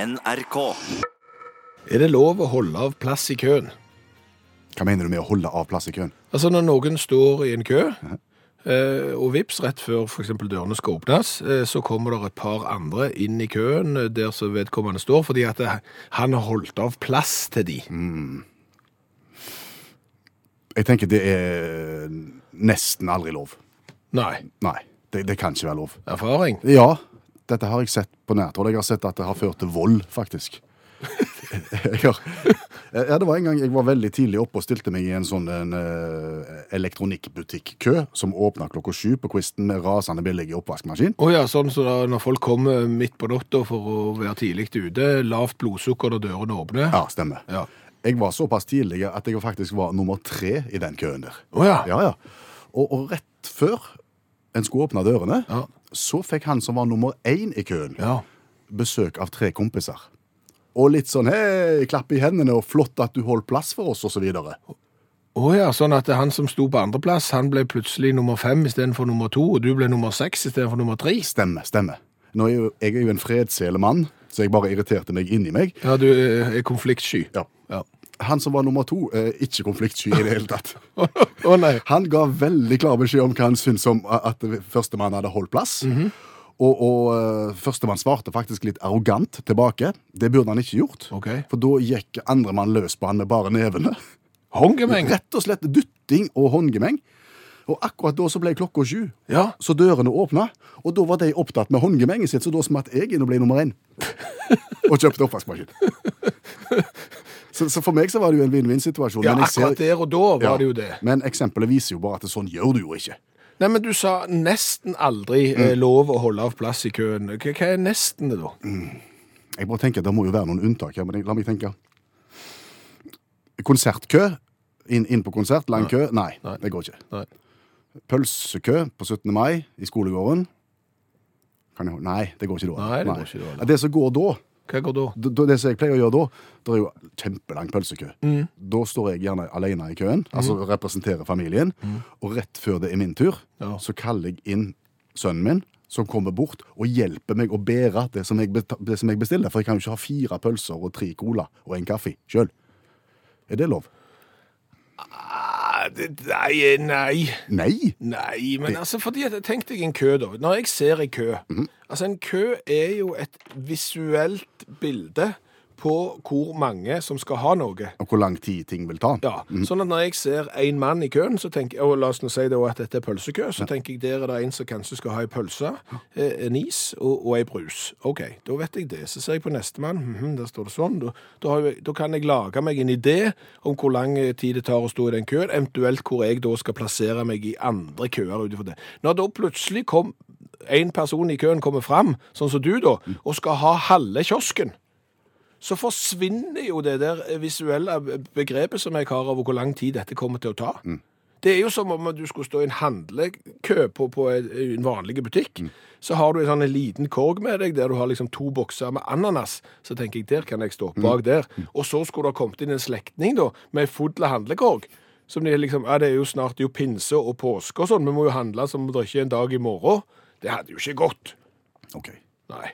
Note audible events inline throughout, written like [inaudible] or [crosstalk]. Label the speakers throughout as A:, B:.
A: NRK.
B: Er det lov å holde av plass i køen?
C: Hva mener du med å holde av plass i køen?
B: Altså når noen står i en kø, eh, og vips, rett før for eksempel dørene skal åpnes, eh, så kommer det et par andre inn i køen eh, der så vedkommende står, fordi at det, han har holdt av plass til de.
C: Jeg tenker det er nesten aldri lov.
B: Nei,
C: Nei, det, det kan ikke være lov.
B: erfaring.
C: Ja, dette har jeg sett på nært hold. Jeg har sett at det har ført til vold, faktisk. Jeg har, ja, det var en gang jeg var veldig tidlig oppe og stilte meg i en sånn en, eh, elektronikkbutikkø som åpna klokka sju på kvisten med rasende billig oppvaskmaskin.
B: Å ja, sånn så da, når folk kommer midt på natta for å være tidlig ute, lavt blodsukker når dørene åpner.
C: Ja, stemmer.
B: Ja.
C: Jeg var såpass tidlig at jeg faktisk var nummer tre i den køen der.
B: Å ja.
C: Ja, ja. Og, og rett før en skulle åpne dørene,
B: Ja.
C: så fikk han som var nummer én i køen,
B: Ja.
C: besøk av tre kompiser. Og litt sånn hei, klapp i hendene, og flott at du holdt plass for oss, og så videre.
B: Å ja, sånn at han som sto på andreplass, han ble plutselig nummer fem istedenfor nummer to, og du ble nummer seks istedenfor nummer tre.
C: Stemme, stemme. Nå er jeg, jo, jeg er jo en fredsselemann, så jeg bare irriterte meg inni meg.
B: Ja, du eh, er konfliktsky.
C: Ja.
B: Ja.
C: Han som var nummer to, eh, ikke konfliktsky i det hele tatt.
B: [laughs] [laughs] Å nei.
C: Han ga veldig klar beskjed om hva han syntes om a- at førstemann hadde holdt plass.
B: Mhm.
C: Og, og eh, førstemann svarte faktisk litt arrogant tilbake. Det burde han ikke gjort.
B: Ok.
C: For da gikk andremann løs på han med bare nevene.
B: Hongemeng.
C: Rett og slett dytting og håndgemeng. Og akkurat da så ble klokka sju,
B: Ja.
C: så dørene åpna. Og da var de opptatt med håndgemenget sitt, så da smatt jeg inn og ble
B: [laughs]
C: nummer én. Og kjøpte oppvaskmaskin. Så, så for meg så var det jo en vinn-vinn-situasjon.
B: ja,
C: men jeg ser-
B: akkurat der og da var
C: Ja,
B: det jo det.
C: Men eksempelet viser jo bare at sånn gjør du jo ikke.
B: Nei, men du sa nesten aldri eh, lov å holde av plass i køen. Hva, hva er nesten det da?
C: Jeg bare tenker, Det må jo være noen unntak her, men jeg- la meg tenke. Konsertkø. Inn, inn på konsert. Lang kø. Nei,
B: Nei.
C: det går ikke.
B: Nei.
C: Pølsekø på 17. mai i skolegården. Kan jeg, hol- nei, det går ikke da.
B: Nei, det går ikke da, eller?
C: Ja, Det som går da,
B: Hva går da?
C: d- d- det som jeg pleier å gjøre da, det er jo kjempelang pølsekø.
B: Mm.
C: Da står jeg gjerne alene i køen, altså representerer familien, og rett før det er min tur,
B: Mm. Ja.
C: så kaller jeg inn sønnen min, som kommer bort og hjelper meg å bære det som jeg, beta- det som jeg bestiller, for jeg kan jo ikke ha fire pølser og tre cola og en kaffe selv. Er det lov?
B: Ah, det- Nei, nei.
C: Nei!
B: Nei, men altså, fordi at, tenk deg en kø da. Når jeg ser en kø, altså en kø er jo et visuelt bilde på hvor mange som skal ha noe.
C: Og hvor lang tid ting vil ta.
B: Ja, sånn at når jeg ser en mann i køen, så tenker jeg, og la oss nå si det også at dette er pølsekø, så tenker jeg der er det en som kanskje skal ha en pølse, eh, en is og, og en brus. Ok, da vet jeg det. Så ser jeg på neste mann, mhm, der står det sånn. Da, da, har jeg, da kan jeg lage meg en idé om hvor lang eh, tid det tar å stå i den køen, eventuelt hvor jeg da skal plassere meg i andre køer utenfor det. Når da plutselig kom, en person i køen kommer frem, sånn som du da, og skal ha halve kiosken, så forsvinner jo det der visuelle begrepet som jeg har av hvor lang tid dette kommer til å ta. Det er jo som om du skulle stå i en handlekø på, på en- en vanlig butikk. Så har du en sånn en liten korg med deg der du har liksom to bokser med ananas. Så tenker jeg, der kan jeg stå bak der. Og så skulle det ha kommet inn en slektning da, med en full handlekorg. Som de liksom, ja det er jo snart det er jo pinse og påske og sånn, vi må jo handle som om det ikke er en dag i morgen. Det hadde jo ikke gått.
C: Ok.
B: Nei.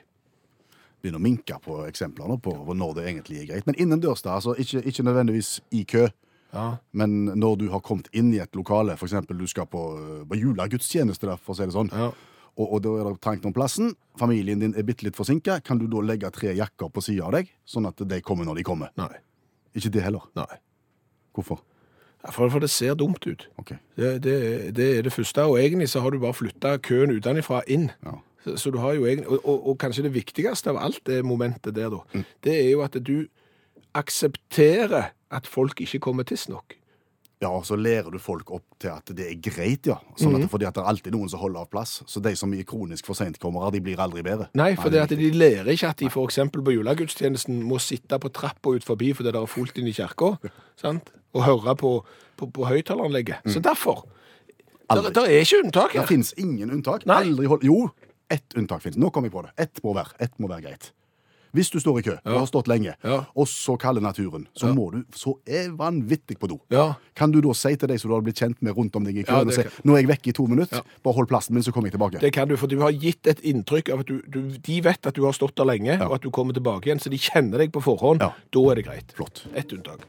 C: begynne å minke på eksempler nå på på når det egentlig er greit. Men innendørs, da. Altså ikke, ikke nødvendigvis i kø,
B: Ja.
C: men når du har kommet inn i et lokale, f.eks. du skal på, på julegudstjeneste, da, for å si det sånn,
B: Ja.
C: og, og da er det trangt om plassen, familien din er bitte litt forsinka, kan du da legge tre jakker på sida av deg, sånn at de kommer når de kommer?
B: Nei.
C: Ikke det heller.
B: Nei.
C: Hvorfor?
B: Ja, For, for det ser dumt ut.
C: Ok.
B: Det, det, det er det første, og egentlig så har du bare flytta køen utenfra inn.
C: Ja.
B: Så, så du har jo egentlig, og, og, og kanskje det viktigste av alt det momentet der, da, det er jo at du aksepterer at folk ikke kommer tidsnok.
C: Ja, og så lærer du folk opp til at det er greit, ja. Sånn at,
B: Mhm.
C: Fordi at det er alltid noen som holder av plass. Så de som er kronisk for sent kommer, de blir aldri bedre.
B: Nei, for det
C: det
B: at de lærer ikke at de f.eks. på julegudstjenesten må sitte på trappa ut forbi fordi det er fullt inn i kirka, sant? og høre på, på, på høyttaleranlegget. Så derfor der,
C: Aldri.
B: der er ikke unntak
C: Det
B: her.
C: fins ingen unntak.
B: Nei.
C: Aldri hold... Jo, ett unntak fins. Nå kom jeg på det. Ett må være. Ett må være greit. Hvis du står i kø, du har stått lenge,
B: Ja.
C: og så kaller naturen, så må du så er vanvittig på do.
B: Ja.
C: Kan du da si til de som du har blitt kjent med rundt om deg i
B: Ja,
C: køen, og
B: det
C: si
B: kan-
C: 'nå er jeg vekke i to minutter', bare hold plassen min, så kommer jeg tilbake.
B: Det kan du, for du har gitt et inntrykk av at du, du, de vet at du har stått der lenge, og at du kommer tilbake igjen, så de kjenner deg på forhånd.
C: Ja.
B: Da er det greit.
C: Flott.
B: Et unntak.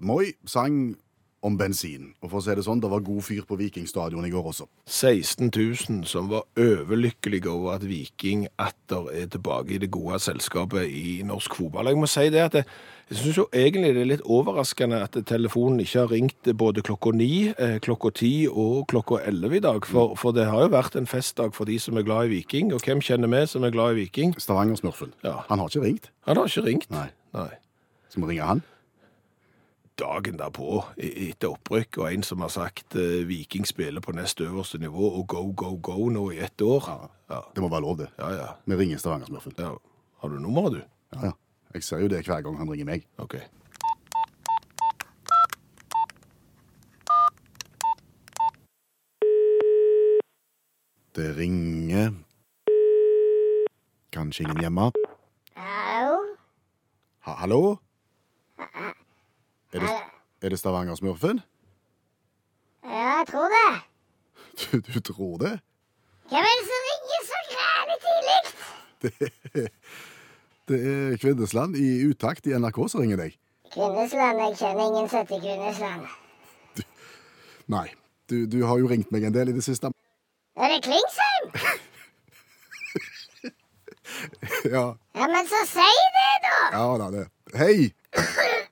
C: Moi sang om bensin, og for å si det sånn, det var god fyr på Vikingstadion i går også.
B: 16 000 som var overlykkelige over at Viking atter er tilbake i det gode selskapet i norsk fotball. Jeg må si det at jeg, jeg syns jo egentlig det er litt overraskende at telefonen ikke har ringt både klokka ni, eh, klokka ti og klokka elleve i dag. For, for det har jo vært en festdag for de som er glad i Viking. Og hvem kjenner vi som er glad i Viking?
C: Stavanger-smurfen.
B: Ja.
C: Han har ikke ringt.
B: Han har ikke ringt.
C: Nei.
B: Nei.
C: Skal vi ringe han?
B: dagen derpå e- etter opprykk, og en som har sagt eh, Viking spiller på nest øverste nivå og go, go, go nå i ett år. Ja,
C: Det må være lov, det.
B: ja. ja.
C: Vi ringer Stavanger-smurfen.
B: ja. Har du nummeret, du?
C: Ja, ja. Jeg ser jo det hver gang han ringer meg.
B: OK.
C: Det ringer Kanskje ingen hjemme?
A: Hallo?
C: Ha Hallo? Er det, er det Stavanger-smurfen? [laughs]
A: Ja, jeg tror det.
C: Du, du tror det?
A: Hvem er det som ringer så grælig tidlig?
C: Det er Kvinnesland i utakt i NRK som ringer deg.
A: Kvinnesland. Jeg kjenner ingen som heter Kvinnesland.
C: Nei, du, du har jo ringt meg en del i det siste. [laughs]
A: Er det Klingsheim?
C: Ja,
A: Ja, men så si det, da!
C: ja da, det. Hei! [laughs]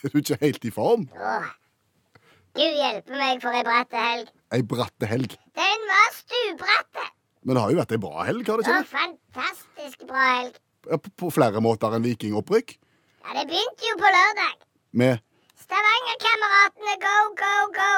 C: Er du ikke helt i form?
A: Åh. Gud hjelpe meg for ei bratte helg.
C: Ei bratte helg.
A: Den var stupbratte!
C: Men det har jo vært ei bra helg, har det
A: Det
C: ikke?
A: var fantastisk bra helg.
C: det? Ja, På, på flere måter enn vikingopprykk.
A: Ja, det begynte jo på lørdag.
C: Med
A: Stavanger-kameratene go, go, go!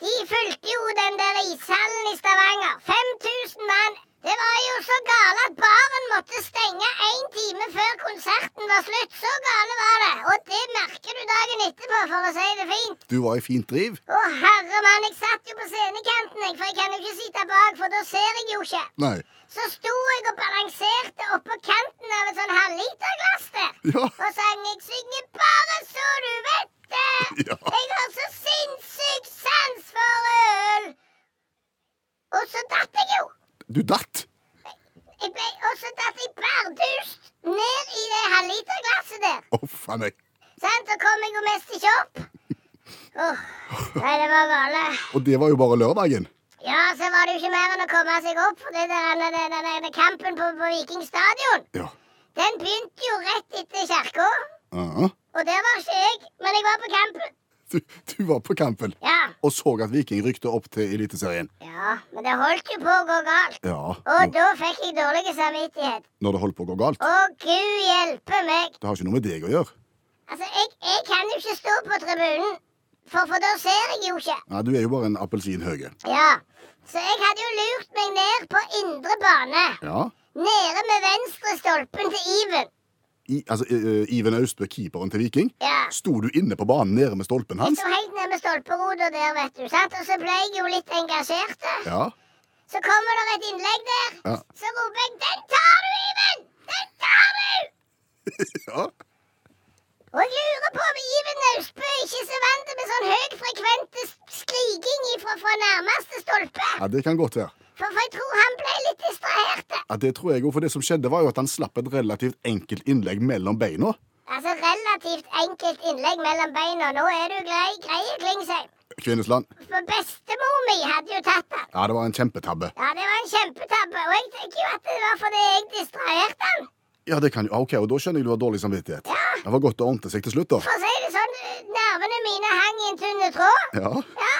A: De fulgte jo den der ishallen i Stavanger. 5000 mann. Det var jo så gale at baren måtte stenge én time før konserten var slutt. Så gale var det. Og det merker du dagen etterpå, for å si det fint.
C: Du var i fint driv?
A: Å herre mann, jeg satt jo på scenekanten, jeg, for jeg kan jo ikke sitte bak, for da ser jeg jo ikke.
C: Nei.
A: Så sto jeg og balanserte oppå kanten av et sånn halvliterglass der.
C: Ja.
A: Og sang jeg synger bare så du vet det.
C: Ja.
A: Jeg har så sinnssyk sans for øl. Og så datt jeg jo.
C: Du datt!
A: Jeg ble, og så datt jeg bardust ned i det halvliterglasset der.
C: Å, faen meg.
A: Sant? Så kom jeg jo mest ikke opp. Åh, Nei, det var gale.
C: Og det var jo bare lørdagen.
A: Ja, så var det jo ikke mer enn å komme seg opp for det der, den, den, den, den kampen på, på Viking stadion.
C: Ja.
A: Den begynte jo rett etter kirka.
C: Ja.
A: Og der var ikke jeg, men jeg var på campen.
C: Ah. Du, du var på kampen
A: Ja.
C: og så at Viking rykte opp til Eliteserien.
A: Ja, men det holdt jo på å gå galt.
C: Ja.
A: Og
C: Når,
A: da fikk jeg dårlig samvittighet.
C: når det holdt på å gå galt.
A: Å, gud hjelpe meg!
C: Det har ikke noe med deg å gjøre.
A: Altså, jeg, jeg kan jo ikke stå på tribunen, for, for da ser jeg jo ikke.
C: Nei, du er jo bare en appelsinhøge.
A: Ja, Så jeg hadde jo lurt meg ned på indre bane.
C: Ja.
A: Nede med venstre stolpen til Iven.
C: I, altså, eh, eh, Iven Austbø, keeperen til Viking,
A: Ja.
C: sto du inne på banen nede med stolpen
A: Jeg
C: hans?
A: sto helt nede med stolperoda der, vet du. sant? Og så ble jeg jo litt engasjert. da.
C: Ja.
A: Så kommer det et innlegg der.
C: Ja.
A: Så roper jeg 'Den tar du, Iven! Den tar du!'
C: ja.
A: Og jeg lurer på om Iven Naustbø ikke er så vant med sånn høyfrekvente s- skriking ifra fra nærmeste stolpe.
C: Ja, Det kan godt være.
A: For, for jeg tror han ble litt distrahert.
C: Ja, det tror jeg òg, for det som skjedde, var jo at han slapp et relativt enkelt innlegg mellom beina.
A: Altså relativt enkelt innlegg mellom beina. Nå er du grei, greie, Klingsheim.
C: Kvinnesland.
A: For bestemor mi hadde jo tatt han.
C: Ja, det var en kjempetabbe.
A: Ja, det var en kjempetabbe. Og jeg tenker jo at det var fordi jeg distraherte han.
C: Ja, det kan jo, ah, ok, og Da skjønner jeg du har dårlig samvittighet. Det var godt å ordne seg til slutt, da.
A: For å si det sånn, nervene mine hang i en tynne tråd.
C: Ja.
A: Ja.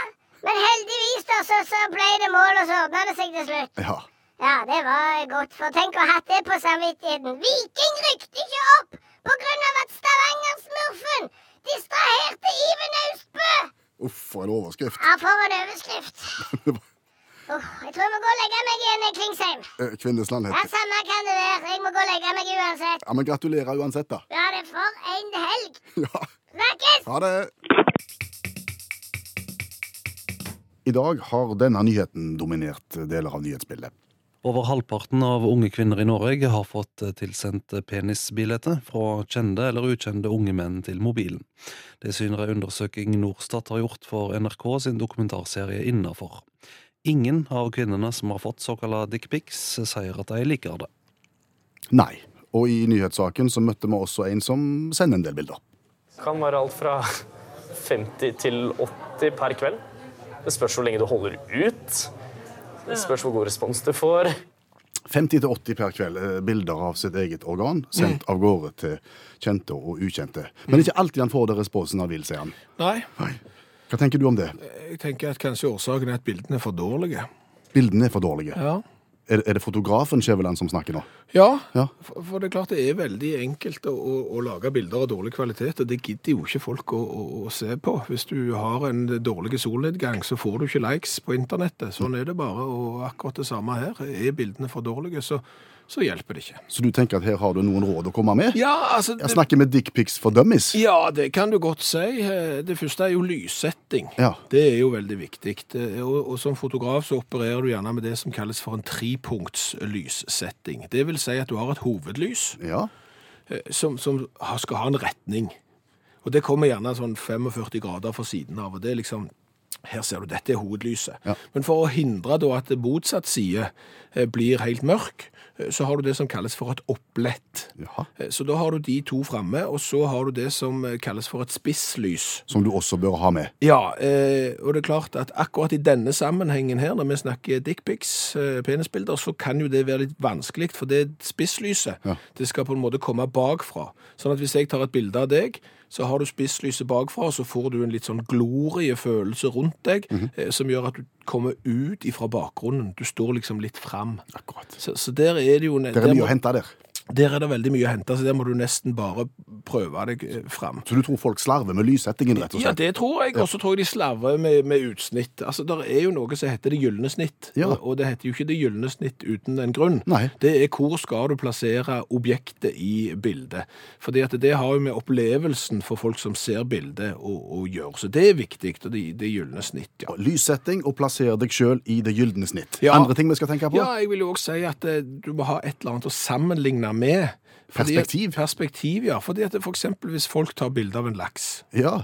A: Men heldigvis da, så, så ble det mål, og så ordna det seg til slutt.
C: ja.
A: Ja, det var godt, for tenk å ha hatt det på samvittigheten. Viking rykte ikke opp på grunn av at Stavanger-smurfen distraherte Iven Austbø.
C: Uff, for en overskrift. [laughs]
A: Ja, for en overskrift.
C: Det var-
A: Åh, jeg tror jeg må gå og legge meg igjen, jeg, Klingsheim.
C: eh, Kvinnesland
A: Ja,
C: heter det.
A: samme kan det være. Jeg må gå og legge meg uansett.
C: Ja, men gratulerer uansett, da. [laughs]
A: Ja, det er for en helg.
C: Ja.
A: Snakkes!
C: Ha det. I dag har denne nyheten dominert deler av nyhetsbildet.
D: Over halvparten av unge kvinner i Norge har fått eh, tilsendt penisbilder fra kjente eller ukjente unge menn til mobilen. Det syner en undersøking Norstat har gjort for NRK sin dokumentarserie Innafor. Ingen av kvinnene som har fått såkalla dickpics, sier at de liker det.
C: Nei. Og i nyhetssaken så møtte vi også en som sender en del bilder.
E: kan være alt fra 50 til 80 per kveld. Det spørs hvor lenge du holder ut. Det spørs hvor god respons du får.
C: 50-80 per kveld eh, bilder av sitt eget organ sendt av gårde til kjente og ukjente. Men ikke alltid han får den responsen han vil, sier han.
B: Nei,
C: Hva tenker du om det?
B: jeg tenker at kanskje årsaken er at bildene er for dårlige.
C: Bildene er for dårlige.
B: Ja.
C: Er, er det fotografen Skjæveland som snakker nå?
B: Ja,
C: Ja.
B: for, for det er klart det er veldig enkelt å, å, å lage bilder av dårlig kvalitet, og det gidder jo ikke folk å, å, å se på. Hvis du har en dårlig solnedgang, så får du ikke likes på internettet. Sånn er det bare, og akkurat det samme her. Er bildene for dårlige, så, så hjelper det ikke.
C: Så du tenker at her har du noen råd å komme med?
B: Ja, altså...
C: Jeg snakker med dickpics for dummies.
B: Ja, det kan du godt si. Eh, Det første er jo lyssetting.
C: Ja.
B: Det er jo veldig viktig. Eh, Og, og som fotograf så opererer du gjerne med det som kalles for en trepunkts lyssetting. Det vil si at du har et hovedlys
C: Ja.
B: eh, som, som har- skal ha en retning. Og det kommer gjerne sånn 45 grader fra siden av, og det er liksom her ser du, dette er hovedlyset.
C: Ja.
B: Men for å hindre da at motsatt side eh, blir helt mørk, eh, så har du det som kalles for et opplett.
C: Jaha.
B: Eh, Så da har du de to framme, og så har du det som eh, kalles for et spisslys.
C: Som du også bør ha med.
B: Ja, eh, og det er klart at akkurat i denne sammenhengen her, når vi snakker dickpics, eh, penisbilder, så kan jo det være litt vanskelig, for det spisslyset,
C: Ja.
B: det skal på en måte komme bakfra. Sånn at hvis jeg tar et bilde av deg, så har du spisslyset bakfra, og så får du en litt sånn gloriefølelse rundt deg,
C: Mhm.
B: eh, som gjør at du kommer ut ifra bakgrunnen. Du står liksom litt fram.
C: Akkurat.
B: Så, så der er det jo...
C: Det er
B: der må-
C: mye å hente der.
B: der er det veldig mye å hente, så der må du nesten bare prøve deg eh, fram.
C: Så du tror folk slarver med lyssettingen, rett og
B: Ja,
C: slett?
B: det tror jeg. Og så tror jeg de slarver med, med utsnitt. Altså, Det er jo noe som heter det gylne snitt,
C: Ja.
B: og, og det heter jo ikke det gylne snitt uten en grunn.
C: Nei.
B: Det er hvor skal du plassere objektet i bildet. Fordi at det har jo med opplevelsen for folk som ser bildet å å gjøre. Så det er viktig, og det, det gylne snitt, ja.
C: Lyssetting og plasser deg sjøl i det gylne snitt.
B: Ja.
C: Andre ting vi skal tenke på?
B: Ja, jeg vil jo også si at eh, du må ha et eller annet å sammenligne med. Fordi at-
C: Perspektiv.
B: Perspektiv, ja. Fordi at det- for eksempel hvis folk tar bilde av en laks
C: Ja.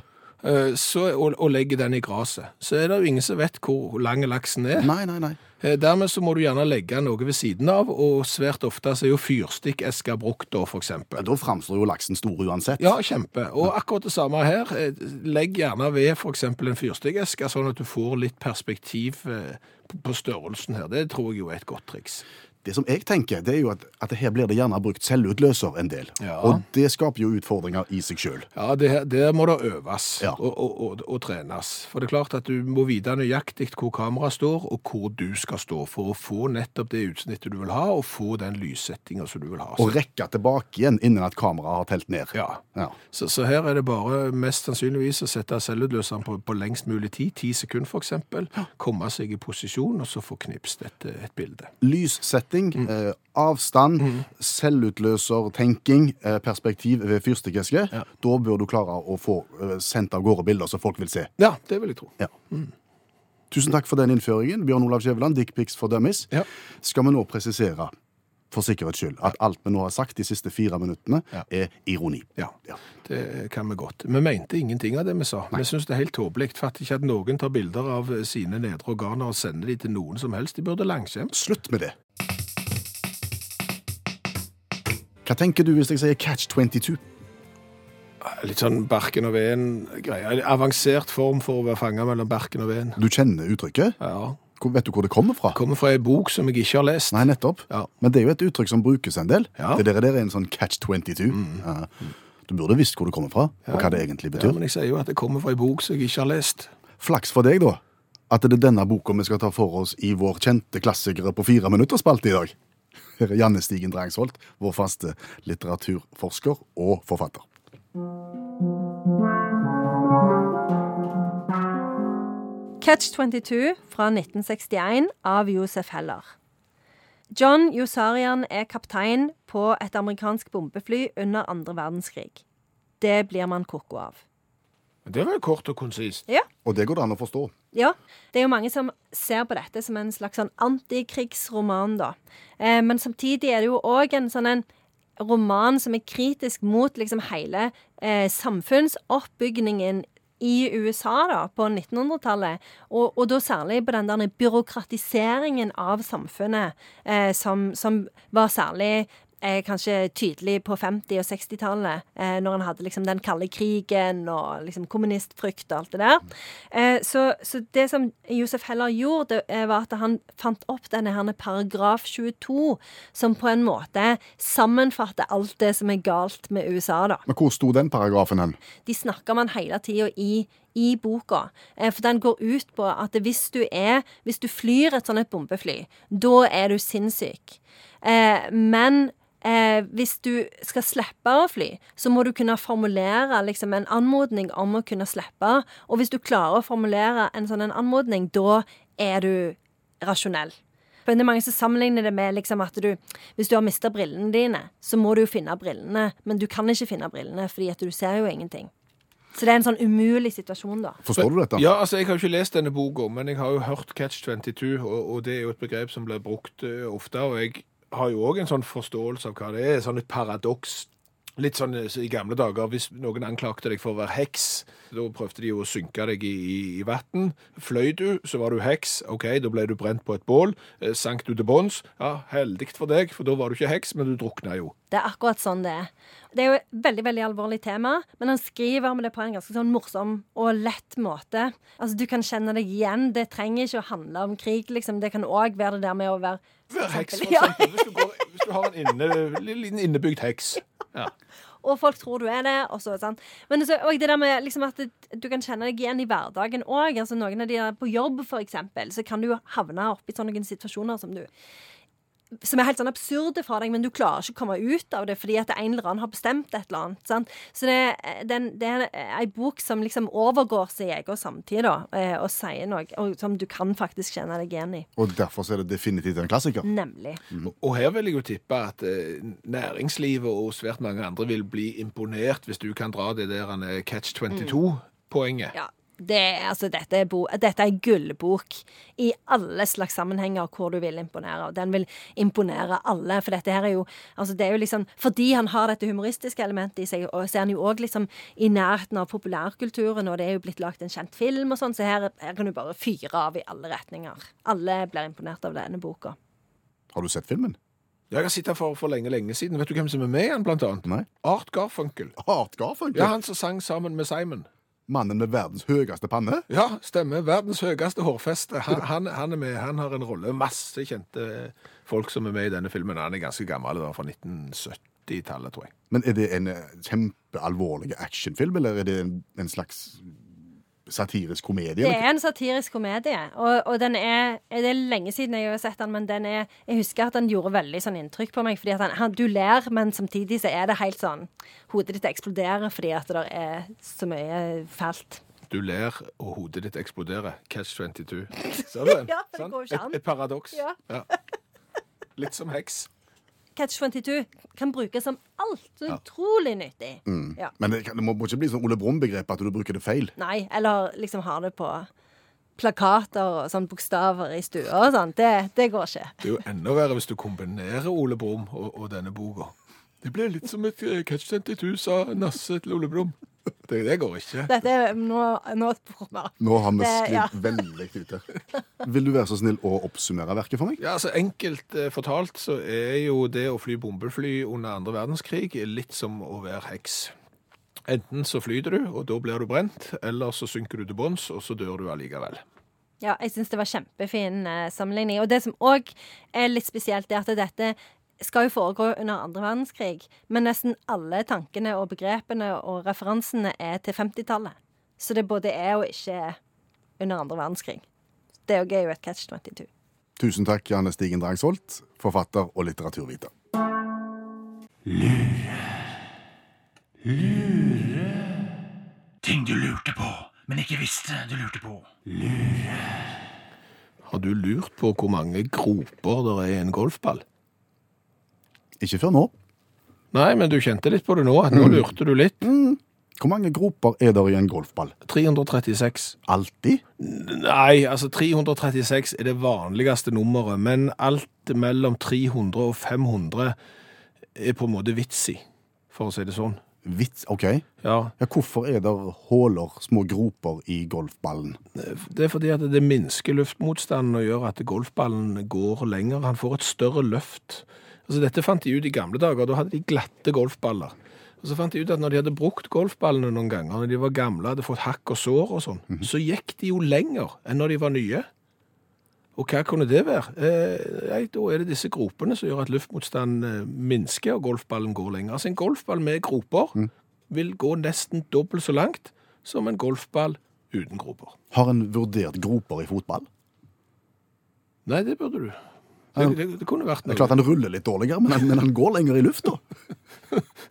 B: eh, så, og, og legger den i graset, så er det jo ingen som vet hvor lang laksen er.
C: Nei, nei, nei.
B: Eh, Dermed så må du gjerne legge noe ved siden av, og svært ofte så er jo fyrstikkesker brukt da, for eksempel.
C: Ja, Da framstår jo laksen stor uansett.
B: Ja, kjempe. Og akkurat det samme her. Eh, Legg gjerne ved f.eks. en fyrstikkeske, sånn at du får litt perspektiv eh, på- på størrelsen her. Det tror jeg jo er et godt triks.
C: Det som jeg tenker, det er jo at, at her blir det gjerne brukt selvutløser en del.
B: Ja.
C: Og det skaper jo utfordringer i seg sjøl.
B: Ja, det, her- der må det øves
C: Ja.
B: og, og, og, og trenes. For det er klart at du må vite nøyaktig hvor kameraet står, og hvor du skal stå, for å få nettopp det utsnittet du vil ha, og få den lyssettinga som du vil ha. Så,
C: Og rekke tilbake igjen innen at kameraet har telt ned.
B: ja.
C: Ja.
B: så, så her er det bare mest sannsynligvis å sette selvutløseren på, på lengst mulig tid, ti sekunder f.eks., komme seg i posisjon, og så få knipst et, et bilde.
C: Lyssetting,
B: Mm.
C: eh, avstand, selvutløsertenking, eh, perspektiv ved fyrstikkeske. Da bør du klare å få eh, sendt av gårde bilder som folk vil se.
B: Ja, det vil jeg tro.
C: Ja. Tusen takk for den innføringen, Bjørn Olav Skjæveland, Dickpics for dummies.
B: Ja.
C: Skal vi nå presisere, for sikkerhets skyld, at alt vi nå har sagt de siste fire minuttene,
B: Ja.
C: er ironi.
B: Ja.
C: Ja.
B: Det kan vi godt. Vi mente ingenting av det vi sa. Vi syns det er helt tåpelig. Fatter ikke at noen tar bilder av sine nedre organer og sender de til noen som helst. De burde langskjems.
C: Slutt med det. Hva tenker du hvis jeg sier catch 22?
B: Litt sånn barken og veden-greie. Avansert form for å være fanga mellom barken og veden.
C: Du kjenner uttrykket.
B: Ja.
C: Hvor- Vet du hvor det kommer fra?
B: Kommer fra ei bok som jeg ikke har lest.
C: Nei, nettopp.
B: Ja.
C: Men det er jo et uttrykk som brukes en del.
B: Ja. Mm.
C: Det der, der er en sånn catch 22. Ja. Du burde visst hvor det kommer fra, og hva det egentlig
B: Ja,
C: betyr.
B: men jeg sier jo at det kommer fra ei bok som jeg ikke har lest.
C: Flaks for deg, da, at det er denne boka vi skal ta for oss i vår kjente klassikere på fire minutter-spalte i dag. Her er Janne Stigen Drangsholt, vår faste litteraturforsker og forfatter.
F: Catch 22 fra 1961 av Josef Heller. John Josarian er kaptein på et amerikansk bombefly under andre verdenskrig. Det blir man koko av.
B: Det var jo kort og konsist.
F: Ja.
C: Og det går det an å forstå.
F: Ja, det er jo mange som ser på dette som en slags sånn antikrigsroman, da. Eh, men samtidig er det jo òg en sånn en roman som er kritisk mot liksom hele eh, samfunnsoppbyggingen i USA da, på 1900-tallet, og, og da særlig på den der byråkratiseringen av samfunnet, eh, som, som var særlig eh, kanskje tydelig på 50- og 60-tallet, eh, når en hadde liksom den kalde krigen og liksom kommunistfrykt og alt det der. Eh, så, så det som Josef Heller gjorde, eh, var at han fant opp denne her paragraf 22, som på en måte sammenfatter alt det som er galt med USA, da
C: Men hvor sto den paragrafen hen?
F: de snakker man hele tida i, i boka. Eh, For den går ut på at hvis du er Hvis du flyr et sånt et bombefly, da er du sinnssyk. Eh, men eh, hvis du skal slippe å fly, så må du kunne formulere liksom, en anmodning om å kunne slippe. Og hvis du klarer å formulere en sånn en anmodning, da er du rasjonell. Men det er mange som sammenligner det med liksom at du, hvis du har mista brillene dine, så må du jo finne brillene, men du kan ikke finne brillene fordi at du ser jo ingenting. Så det er en sånn umulig situasjon, da.
C: Forstår du dette?
B: Ja, altså Jeg har jo ikke lest denne boka, men jeg har jo hørt Catch 22, og, og det er jo et begrep som blir brukt eh, ofte. Og jeg har jo òg en sånn forståelse av hva det er. Sånn et paradoks. Litt sånn eh, i gamle dager, hvis noen anklagte deg for å være heks, da prøvde de jo å synke deg i, i, i vann. Fløy du, så var du heks. OK, da ble du brent på et bål. Eh, sank du til bunns? Ja, heldig for deg, for da var du ikke heks, men du drukna jo.
F: Det er akkurat sånn det er. Det er jo et veldig veldig alvorlig tema, men han skriver om det på en ganske sånn morsom og lett måte. Altså, Du kan kjenne deg igjen. Det trenger ikke å handle om krig. liksom. Det kan òg være det der med å være
B: Vær heks, for
F: Ja.
B: eksempel. Hvis du, går, hvis du har en inne, liten innebygd heks. Ja.
F: Og folk tror du er det. Og så, sant? Men så, og det der med liksom at du kan kjenne deg igjen i hverdagen òg. Altså, noen av de der på jobb, for eksempel, så kan du jo havne oppi sånne noen situasjoner som du som er helt sånn absurde for deg, men du klarer ikke å komme ut av det fordi at en eller annen har bestemt et eller annet. Sant? Så det, er- den, det er ei bok som liksom overgår sin egen samtid, da, eh, og sier noe og som du kan faktisk kjenne deg igjen i.
C: Og derfor så er det definitivt en klassiker.
F: Nemlig.
B: Og her vil jeg jo tippe at eh, næringslivet og svært mange andre vil bli imponert hvis du kan dra det der han, eh, catch 22-poenget.
F: Ja, det, er- altså, dette er, bo, dette er gullbok i alle slags sammenhenger hvor du vil imponere. Og den vil imponere alle, for dette her er jo, altså, det er jo liksom, Fordi han har dette humoristiske elementet i seg, og så er han jo òg liksom i nærheten av populærkulturen, og det er jo blitt lagd en kjent film og sånn, så her, her kan du bare fyre av i alle retninger. Alle blir imponert av denne boka.
C: Har du sett filmen?
B: Jeg har sittet her for, for lenge, lenge siden. Vet du hvem som er med i den, blant annet?
C: Nei.
B: Art Garfunkel.
C: Art Garfunkel?
B: Ja, han som sang sammen med Simon.
C: Mannen med verdens høyeste panne?
B: Ja, stemmer. Verdens høyeste hårfeste. Han, han, han er med, han har en rolle. Masse kjente folk som er med i denne filmen. Han er ganske gammel, det var fra 1970-tallet, tror jeg.
C: Men er det en eh, kjempealvorlig actionfilm, eller er det en, en slags satirisk komedie?
F: Det
C: eller?
F: er en satirisk komedie, og, og den er Det er lenge siden jeg har sett den, men den er Jeg husker at den gjorde veldig sånn inntrykk på meg, fordi at han, han, du ler, men samtidig så er det helt sånn Hodet ditt eksploderer fordi at det er så mye fælt.
B: Du ler, og hodet ditt eksploderer. Catch
F: [laughs]
B: 22. Ser du den?
F: Ja, det går ikke an.
B: Et, et paradoks.
F: Ja.
B: Ja. Litt som heks.
F: Catch 22 kan brukes som alt. Så utrolig nyttig. Ja.
C: Men det, kan- det må, må ikke bli sånn Ole Brumm-begrep at du bruker det feil.
F: Nei, eller liksom har det på plakater og sånn bokstaver i stua og sånn. Det, det går ikke.
B: Det er jo enda verre hvis du kombinerer Ole Brumm og, og denne boka. Det ble litt som et eh, Catch 22, sa Nasse til Ole Brumm. [laughs] Det, det går ikke.
F: Dette er nå, nå kommer
C: Nå har vi
F: Det-
C: sklidd
F: ja.
C: veldig ut her. Vil du være så snill å oppsummere verket for meg?
B: Ja, altså Enkelt eh, fortalt så er jo det å fly bombefly under andre verdenskrig litt som å være heks. Enten så flyter du, og da blir du brent, eller så synker du til bunns, og så dør du allikevel.
F: Ja, jeg syns det var kjempefin eh, sammenligning. Og det som òg er litt spesielt, er at dette skal jo foregå under andre verdenskrig, men nesten alle tankene og begrepene og referansene er til 50-tallet. Så det både er og ikke er under andre verdenskrig. Det òg er jo et catch 22.
C: Tusen takk, Janne Stigen Drangsholt, forfatter og litteraturviter.
G: Ting du lurte på, men ikke visste du lurte på.
B: Har du lurt på hvor mange groper der er i en golfball?
C: Ikke før nå.
B: Nei, men du kjente litt på det nå, at nå lurte du litt.
C: Hvor mange groper er der i en golfball?
B: 336.
C: Alltid?
B: Nei, altså 336 er det vanligste nummeret, men alt mellom 300 og 500 er på en måte vitsig, for å si det sånn.
C: Vits, OK. Ja,
B: Ja,
C: hvorfor er der huller, små groper, i golfballen?
B: Det er fordi at det minsker luftmotstanden og gjør at golfballen går lenger. Han får et større løft. Altså, dette fant de ut i gamle dager. Da hadde de glatte golfballer. Og Så fant de ut at når de hadde brukt golfballene noen ganger, når de var gamle, hadde fått hakk og sår og sånn, så gikk de jo lenger enn når de var nye. Og hva kunne det være? Eh, nei, da er det disse gropene som gjør at luftmotstanden eh, minsker, og golfballen går lenger. Altså en golfball med groper vil gå nesten dobbelt så langt som en golfball uten groper.
C: Har en vurdert groper i fotball?
B: Nei, det burde du. Det, det, det kunne vært
C: Det
B: noe.
C: er klart han ruller litt dårligere, men han, men han går lenger i lufta.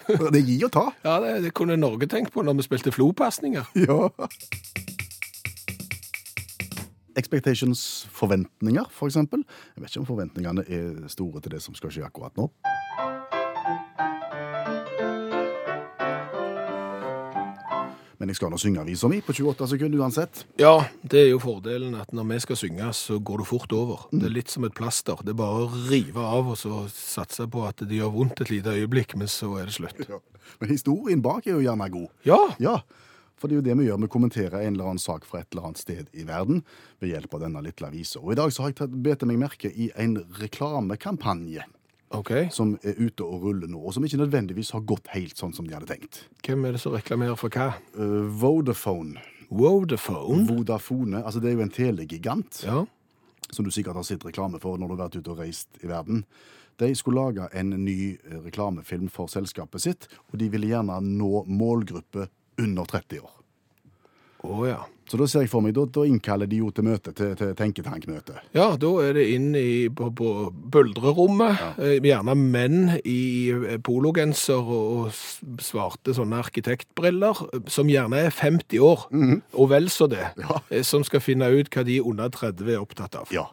C: Det er gi og ta.
B: Ja, det, det kunne Norge tenkt på når vi spilte flopasninger.
C: Ja. Expectations, forventninger, for eksempel. Jeg vet ikke om forventningene er store til det som skal skje akkurat nå. Men jeg skal nå synge avisa mi på 28 sekunder uansett.
B: Ja, det er jo fordelen at når vi skal synge, så går det fort over.
C: Mm.
B: Det er litt som et plaster. Det er bare å rive av og så satse på at det gjør vondt et lite øyeblikk, men så er det slutt.
C: Men historien bak er jo gjerne god.
B: Ja,
C: Ja, for det er jo det vi gjør. Vi kommenterer en eller annen sak fra et eller annet sted i verden ved hjelp av denne lille avisa. Og i dag så har jeg tatt, bet jeg meg merke i en reklamekampanje
B: ok.
C: som er ute og ruller nå, og som ikke nødvendigvis har gått helt sånn som de hadde tenkt.
B: Hvem er det som reklamerer for hva?
C: Eh, Vodafone,
B: Vodafone?
C: Vodafone, altså det er jo en telegigant
B: Ja.
C: som du sikkert har sett reklame for når du har vært ute og reist i verden. De skulle lage en ny eh, reklamefilm for selskapet sitt, og de ville gjerne nå målgruppe under 30 år.
B: Å ja.
C: Så da ser jeg for meg, da, da innkaller de jo til møte, til, til tenketankmøte.
B: Ja, da er det inn i, på, på buldrerommet. Eh, Gjerne menn i eh, pologenser og, og s- svarte sånne arkitektbriller, eh, som gjerne er 50 år, og vel så det,
C: Mhm. Ja.
B: eh, som skal finne ut hva de under 30 er opptatt av.
C: Ja.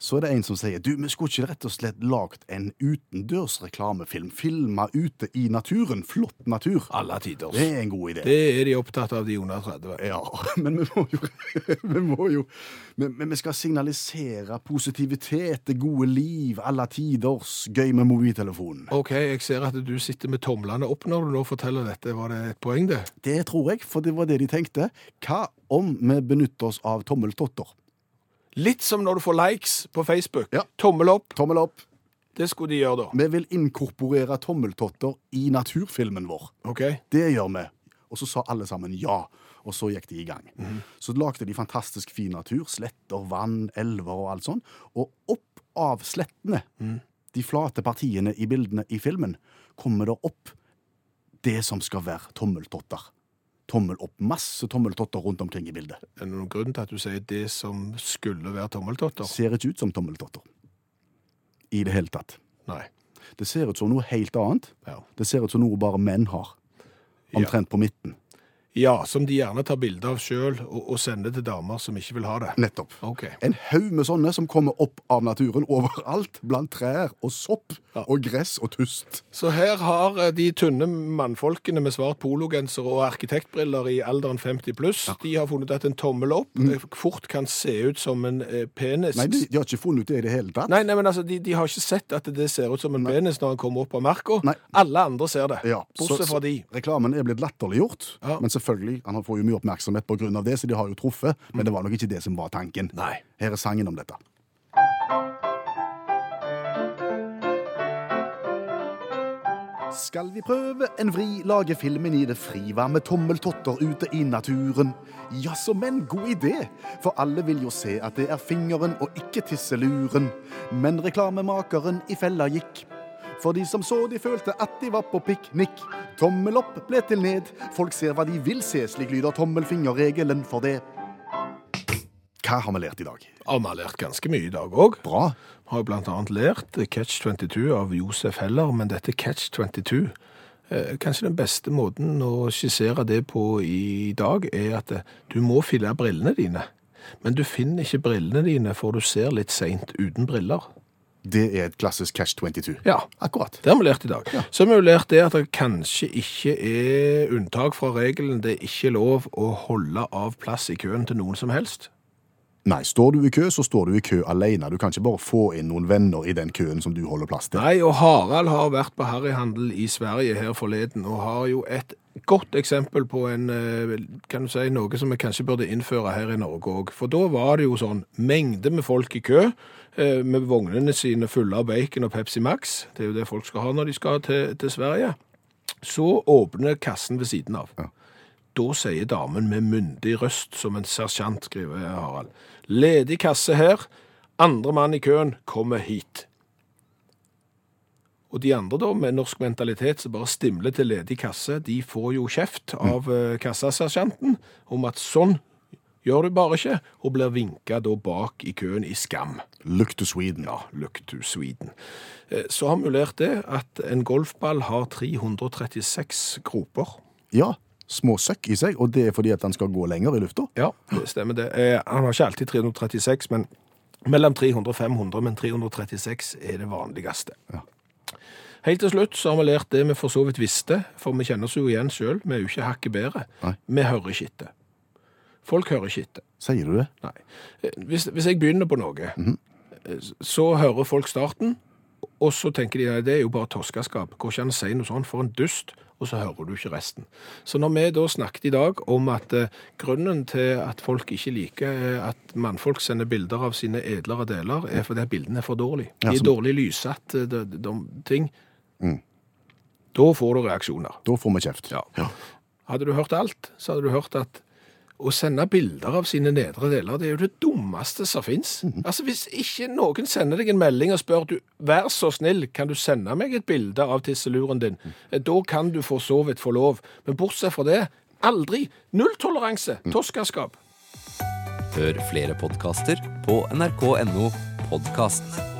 C: Så er det en som sier, du, vi skulle ikke rett og slett lagt en utendørs reklamefilm, filmet ute i naturen, flott natur.
B: Alle tiders.
C: Det er en god idé.
B: Det er de opptatt av, de under 30.
C: Ja, [laughs] men vi må jo, vi, må jo men, men vi skal signalisere positivitet, det gode liv, alle tiders, gøy med mobiltelefonen.
B: Ok, jeg ser at du sitter med tomlene opp når du nå forteller dette. Var det et poeng, det?
C: Det tror jeg, for det var det de tenkte. Hva om vi benytter oss av tommeltotter?
B: Litt som når du får likes på Facebook.
C: Ja.
B: Tommel opp.
C: Tommel opp.
B: Det skulle de gjøre da.
C: Vi vil inkorporere tommeltotter i naturfilmen vår.
B: Ok.
C: Det gjør vi. Og så sa alle sammen ja. Og så gikk de i gang. Så lagde de fantastisk fin natur. Sletter, vann, elver og alt sånn. Og opp av slettene, de flate partiene i bildene i filmen, kommer det opp det som skal være tommeltotter. Tommel opp. Masse tommeltotter rundt omkring i bildet.
B: Er det noen grunn til at du sier det som skulle være tommeltotter?
C: Ser ikke ut som tommeltotter. I det hele tatt.
B: Nei.
C: Det ser ut som noe helt annet.
B: Ja.
C: Det ser ut som noe bare menn har.
B: Ja.
C: Omtrent på midten.
B: Ja, som de gjerne tar bilde av sjøl og, og sender til damer som ikke vil ha det.
C: Nettopp.
B: Ok.
C: En haug med sånne som kommer opp av naturen overalt, blant trær og sopp og gress og tust.
B: Så her har eh, de tynne mannfolkene med svart pologenser og arkitektbriller i alderen 50 pluss, de har funnet at en tommel opp eh, fort kan se ut som en eh, penis.
C: Mm. Nei, de, de har ikke funnet ut det i det hele tatt.
B: Nei, nei, men altså, de, de har ikke sett at det ser ut som en penis når han kommer opp av marka.
C: Nei.
B: Alle andre ser det,
C: Ja, så-
B: bortsett fra de.
C: Reklamen er blitt latterliggjort,
B: Ja.
C: men selvfølgelig, han får jo mye oppmerksomhet på grunn av det, så de har jo truffet, men det var nok ikke det som var tanken.
B: Mm. Nei.
C: Her er sangen om dette. Skal vi prøve en vri, lage filmen i det fri, være med tommeltotter ute i naturen? Jaså, men god idé, for alle vil jo se at det er fingeren og ikke tisseluren. Men reklamemakeren i fella gikk. For de som så, de følte at de var på piknik. Tommel opp ble til ned, folk ser hva de vil se, slik lyder tommelfingerregelen for det. Hva har vi lært i dag?
B: Ja, vi har lært ganske mye i dag òg.
C: Bra.
B: Har jo blant annet lært Catch 22 av Josef Heller, men dette Catch 22 eh, Kanskje den beste måten å skissere det på i dag, er at eh, du må fylle brillene dine. Men du finner ikke brillene dine, for du ser litt seint uten briller.
C: Det er et klassisk Cash 22.
B: Ja,
C: Akkurat.
B: det har vi lært i dag. Så har vi jo lært det at det kanskje ikke er unntak fra regelen det er ikke lov å holde av plass i køen til noen som helst.
C: Nei, står du i kø, så står du i kø alene. Du kan ikke bare få inn noen venner i den køen som du holder plass til.
B: Nei, og Harald har vært på harryhandel i Sverige her forleden, og har jo et godt eksempel på en, eh, kan du si, noe som vi kanskje burde innføre her i Norge òg. For da var det jo sånn mengde med folk i kø, eh, med vognene sine fulle av bacon og Pepsi Max. Det er jo det folk skal ha når de skal til, til Sverige. Så åpner kassen ved siden av. Da sier damen med myndig røst, som en sersjant, skriver Harald. Ledig kasse her. Andre mann i køen kommer hit. Og de andre da, med norsk mentalitet, som bare stimler til ledig kasse, de får jo kjeft av eh, kassasersjanten om at sånn gjør du bare ikke, og blir vinka da bak i køen i skam.
C: Look to Sweden.
B: Ja, look to Sweden. Eh, Så har vi jo lært det at en golfball har 336 groper.
C: Ja, små søkk i seg, og det er fordi at den skal gå lenger i lufta.
B: Ja, det stemmer det. Eh, Han har ikke alltid 336, men mellom 300 og 500, men 336 er det vanligste. Helt til slutt så har vi lært det vi for så vidt visste, for vi kjenner oss jo igjen sjøl. Vi er jo ikke hakket bedre.
C: Nei.
B: Vi hører ikke etter. Folk hører ikke etter.
C: Sier du det?
B: Nei. Eh, Hvis, hvis jeg begynner på noe,
C: Mhm.
B: eh, så hører folk starten, og så tenker de nei, det er jo bare toskeskap. Går ikke an å si noe sånt for en dust, og så hører du ikke resten. Så når vi da snakket i dag om at eh, grunnen til at folk ikke liker eh, at mannfolk sender bilder av sine edlere deler, er fordi at bildene er for dårlige. De
C: Ja,
B: er
C: som- Mm.
B: dårlig lyssatt, eh, de, de, de ting. Da får du reaksjoner.
C: Da får vi kjeft.
B: Ja. Hadde du hørt alt, så hadde du hørt at å sende bilder av sine nedre deler, det er jo det dummeste som fins. Altså, hvis ikke noen sender deg en melding og spør du, vær så snill, kan du sende meg et bilde av tisseluren din, Eh, da kan du for så vidt få lov. Men bortsett fra det, aldri. Nulltoleranse. Toskaskap.
H: Hør flere podkaster på nrk.no podkast.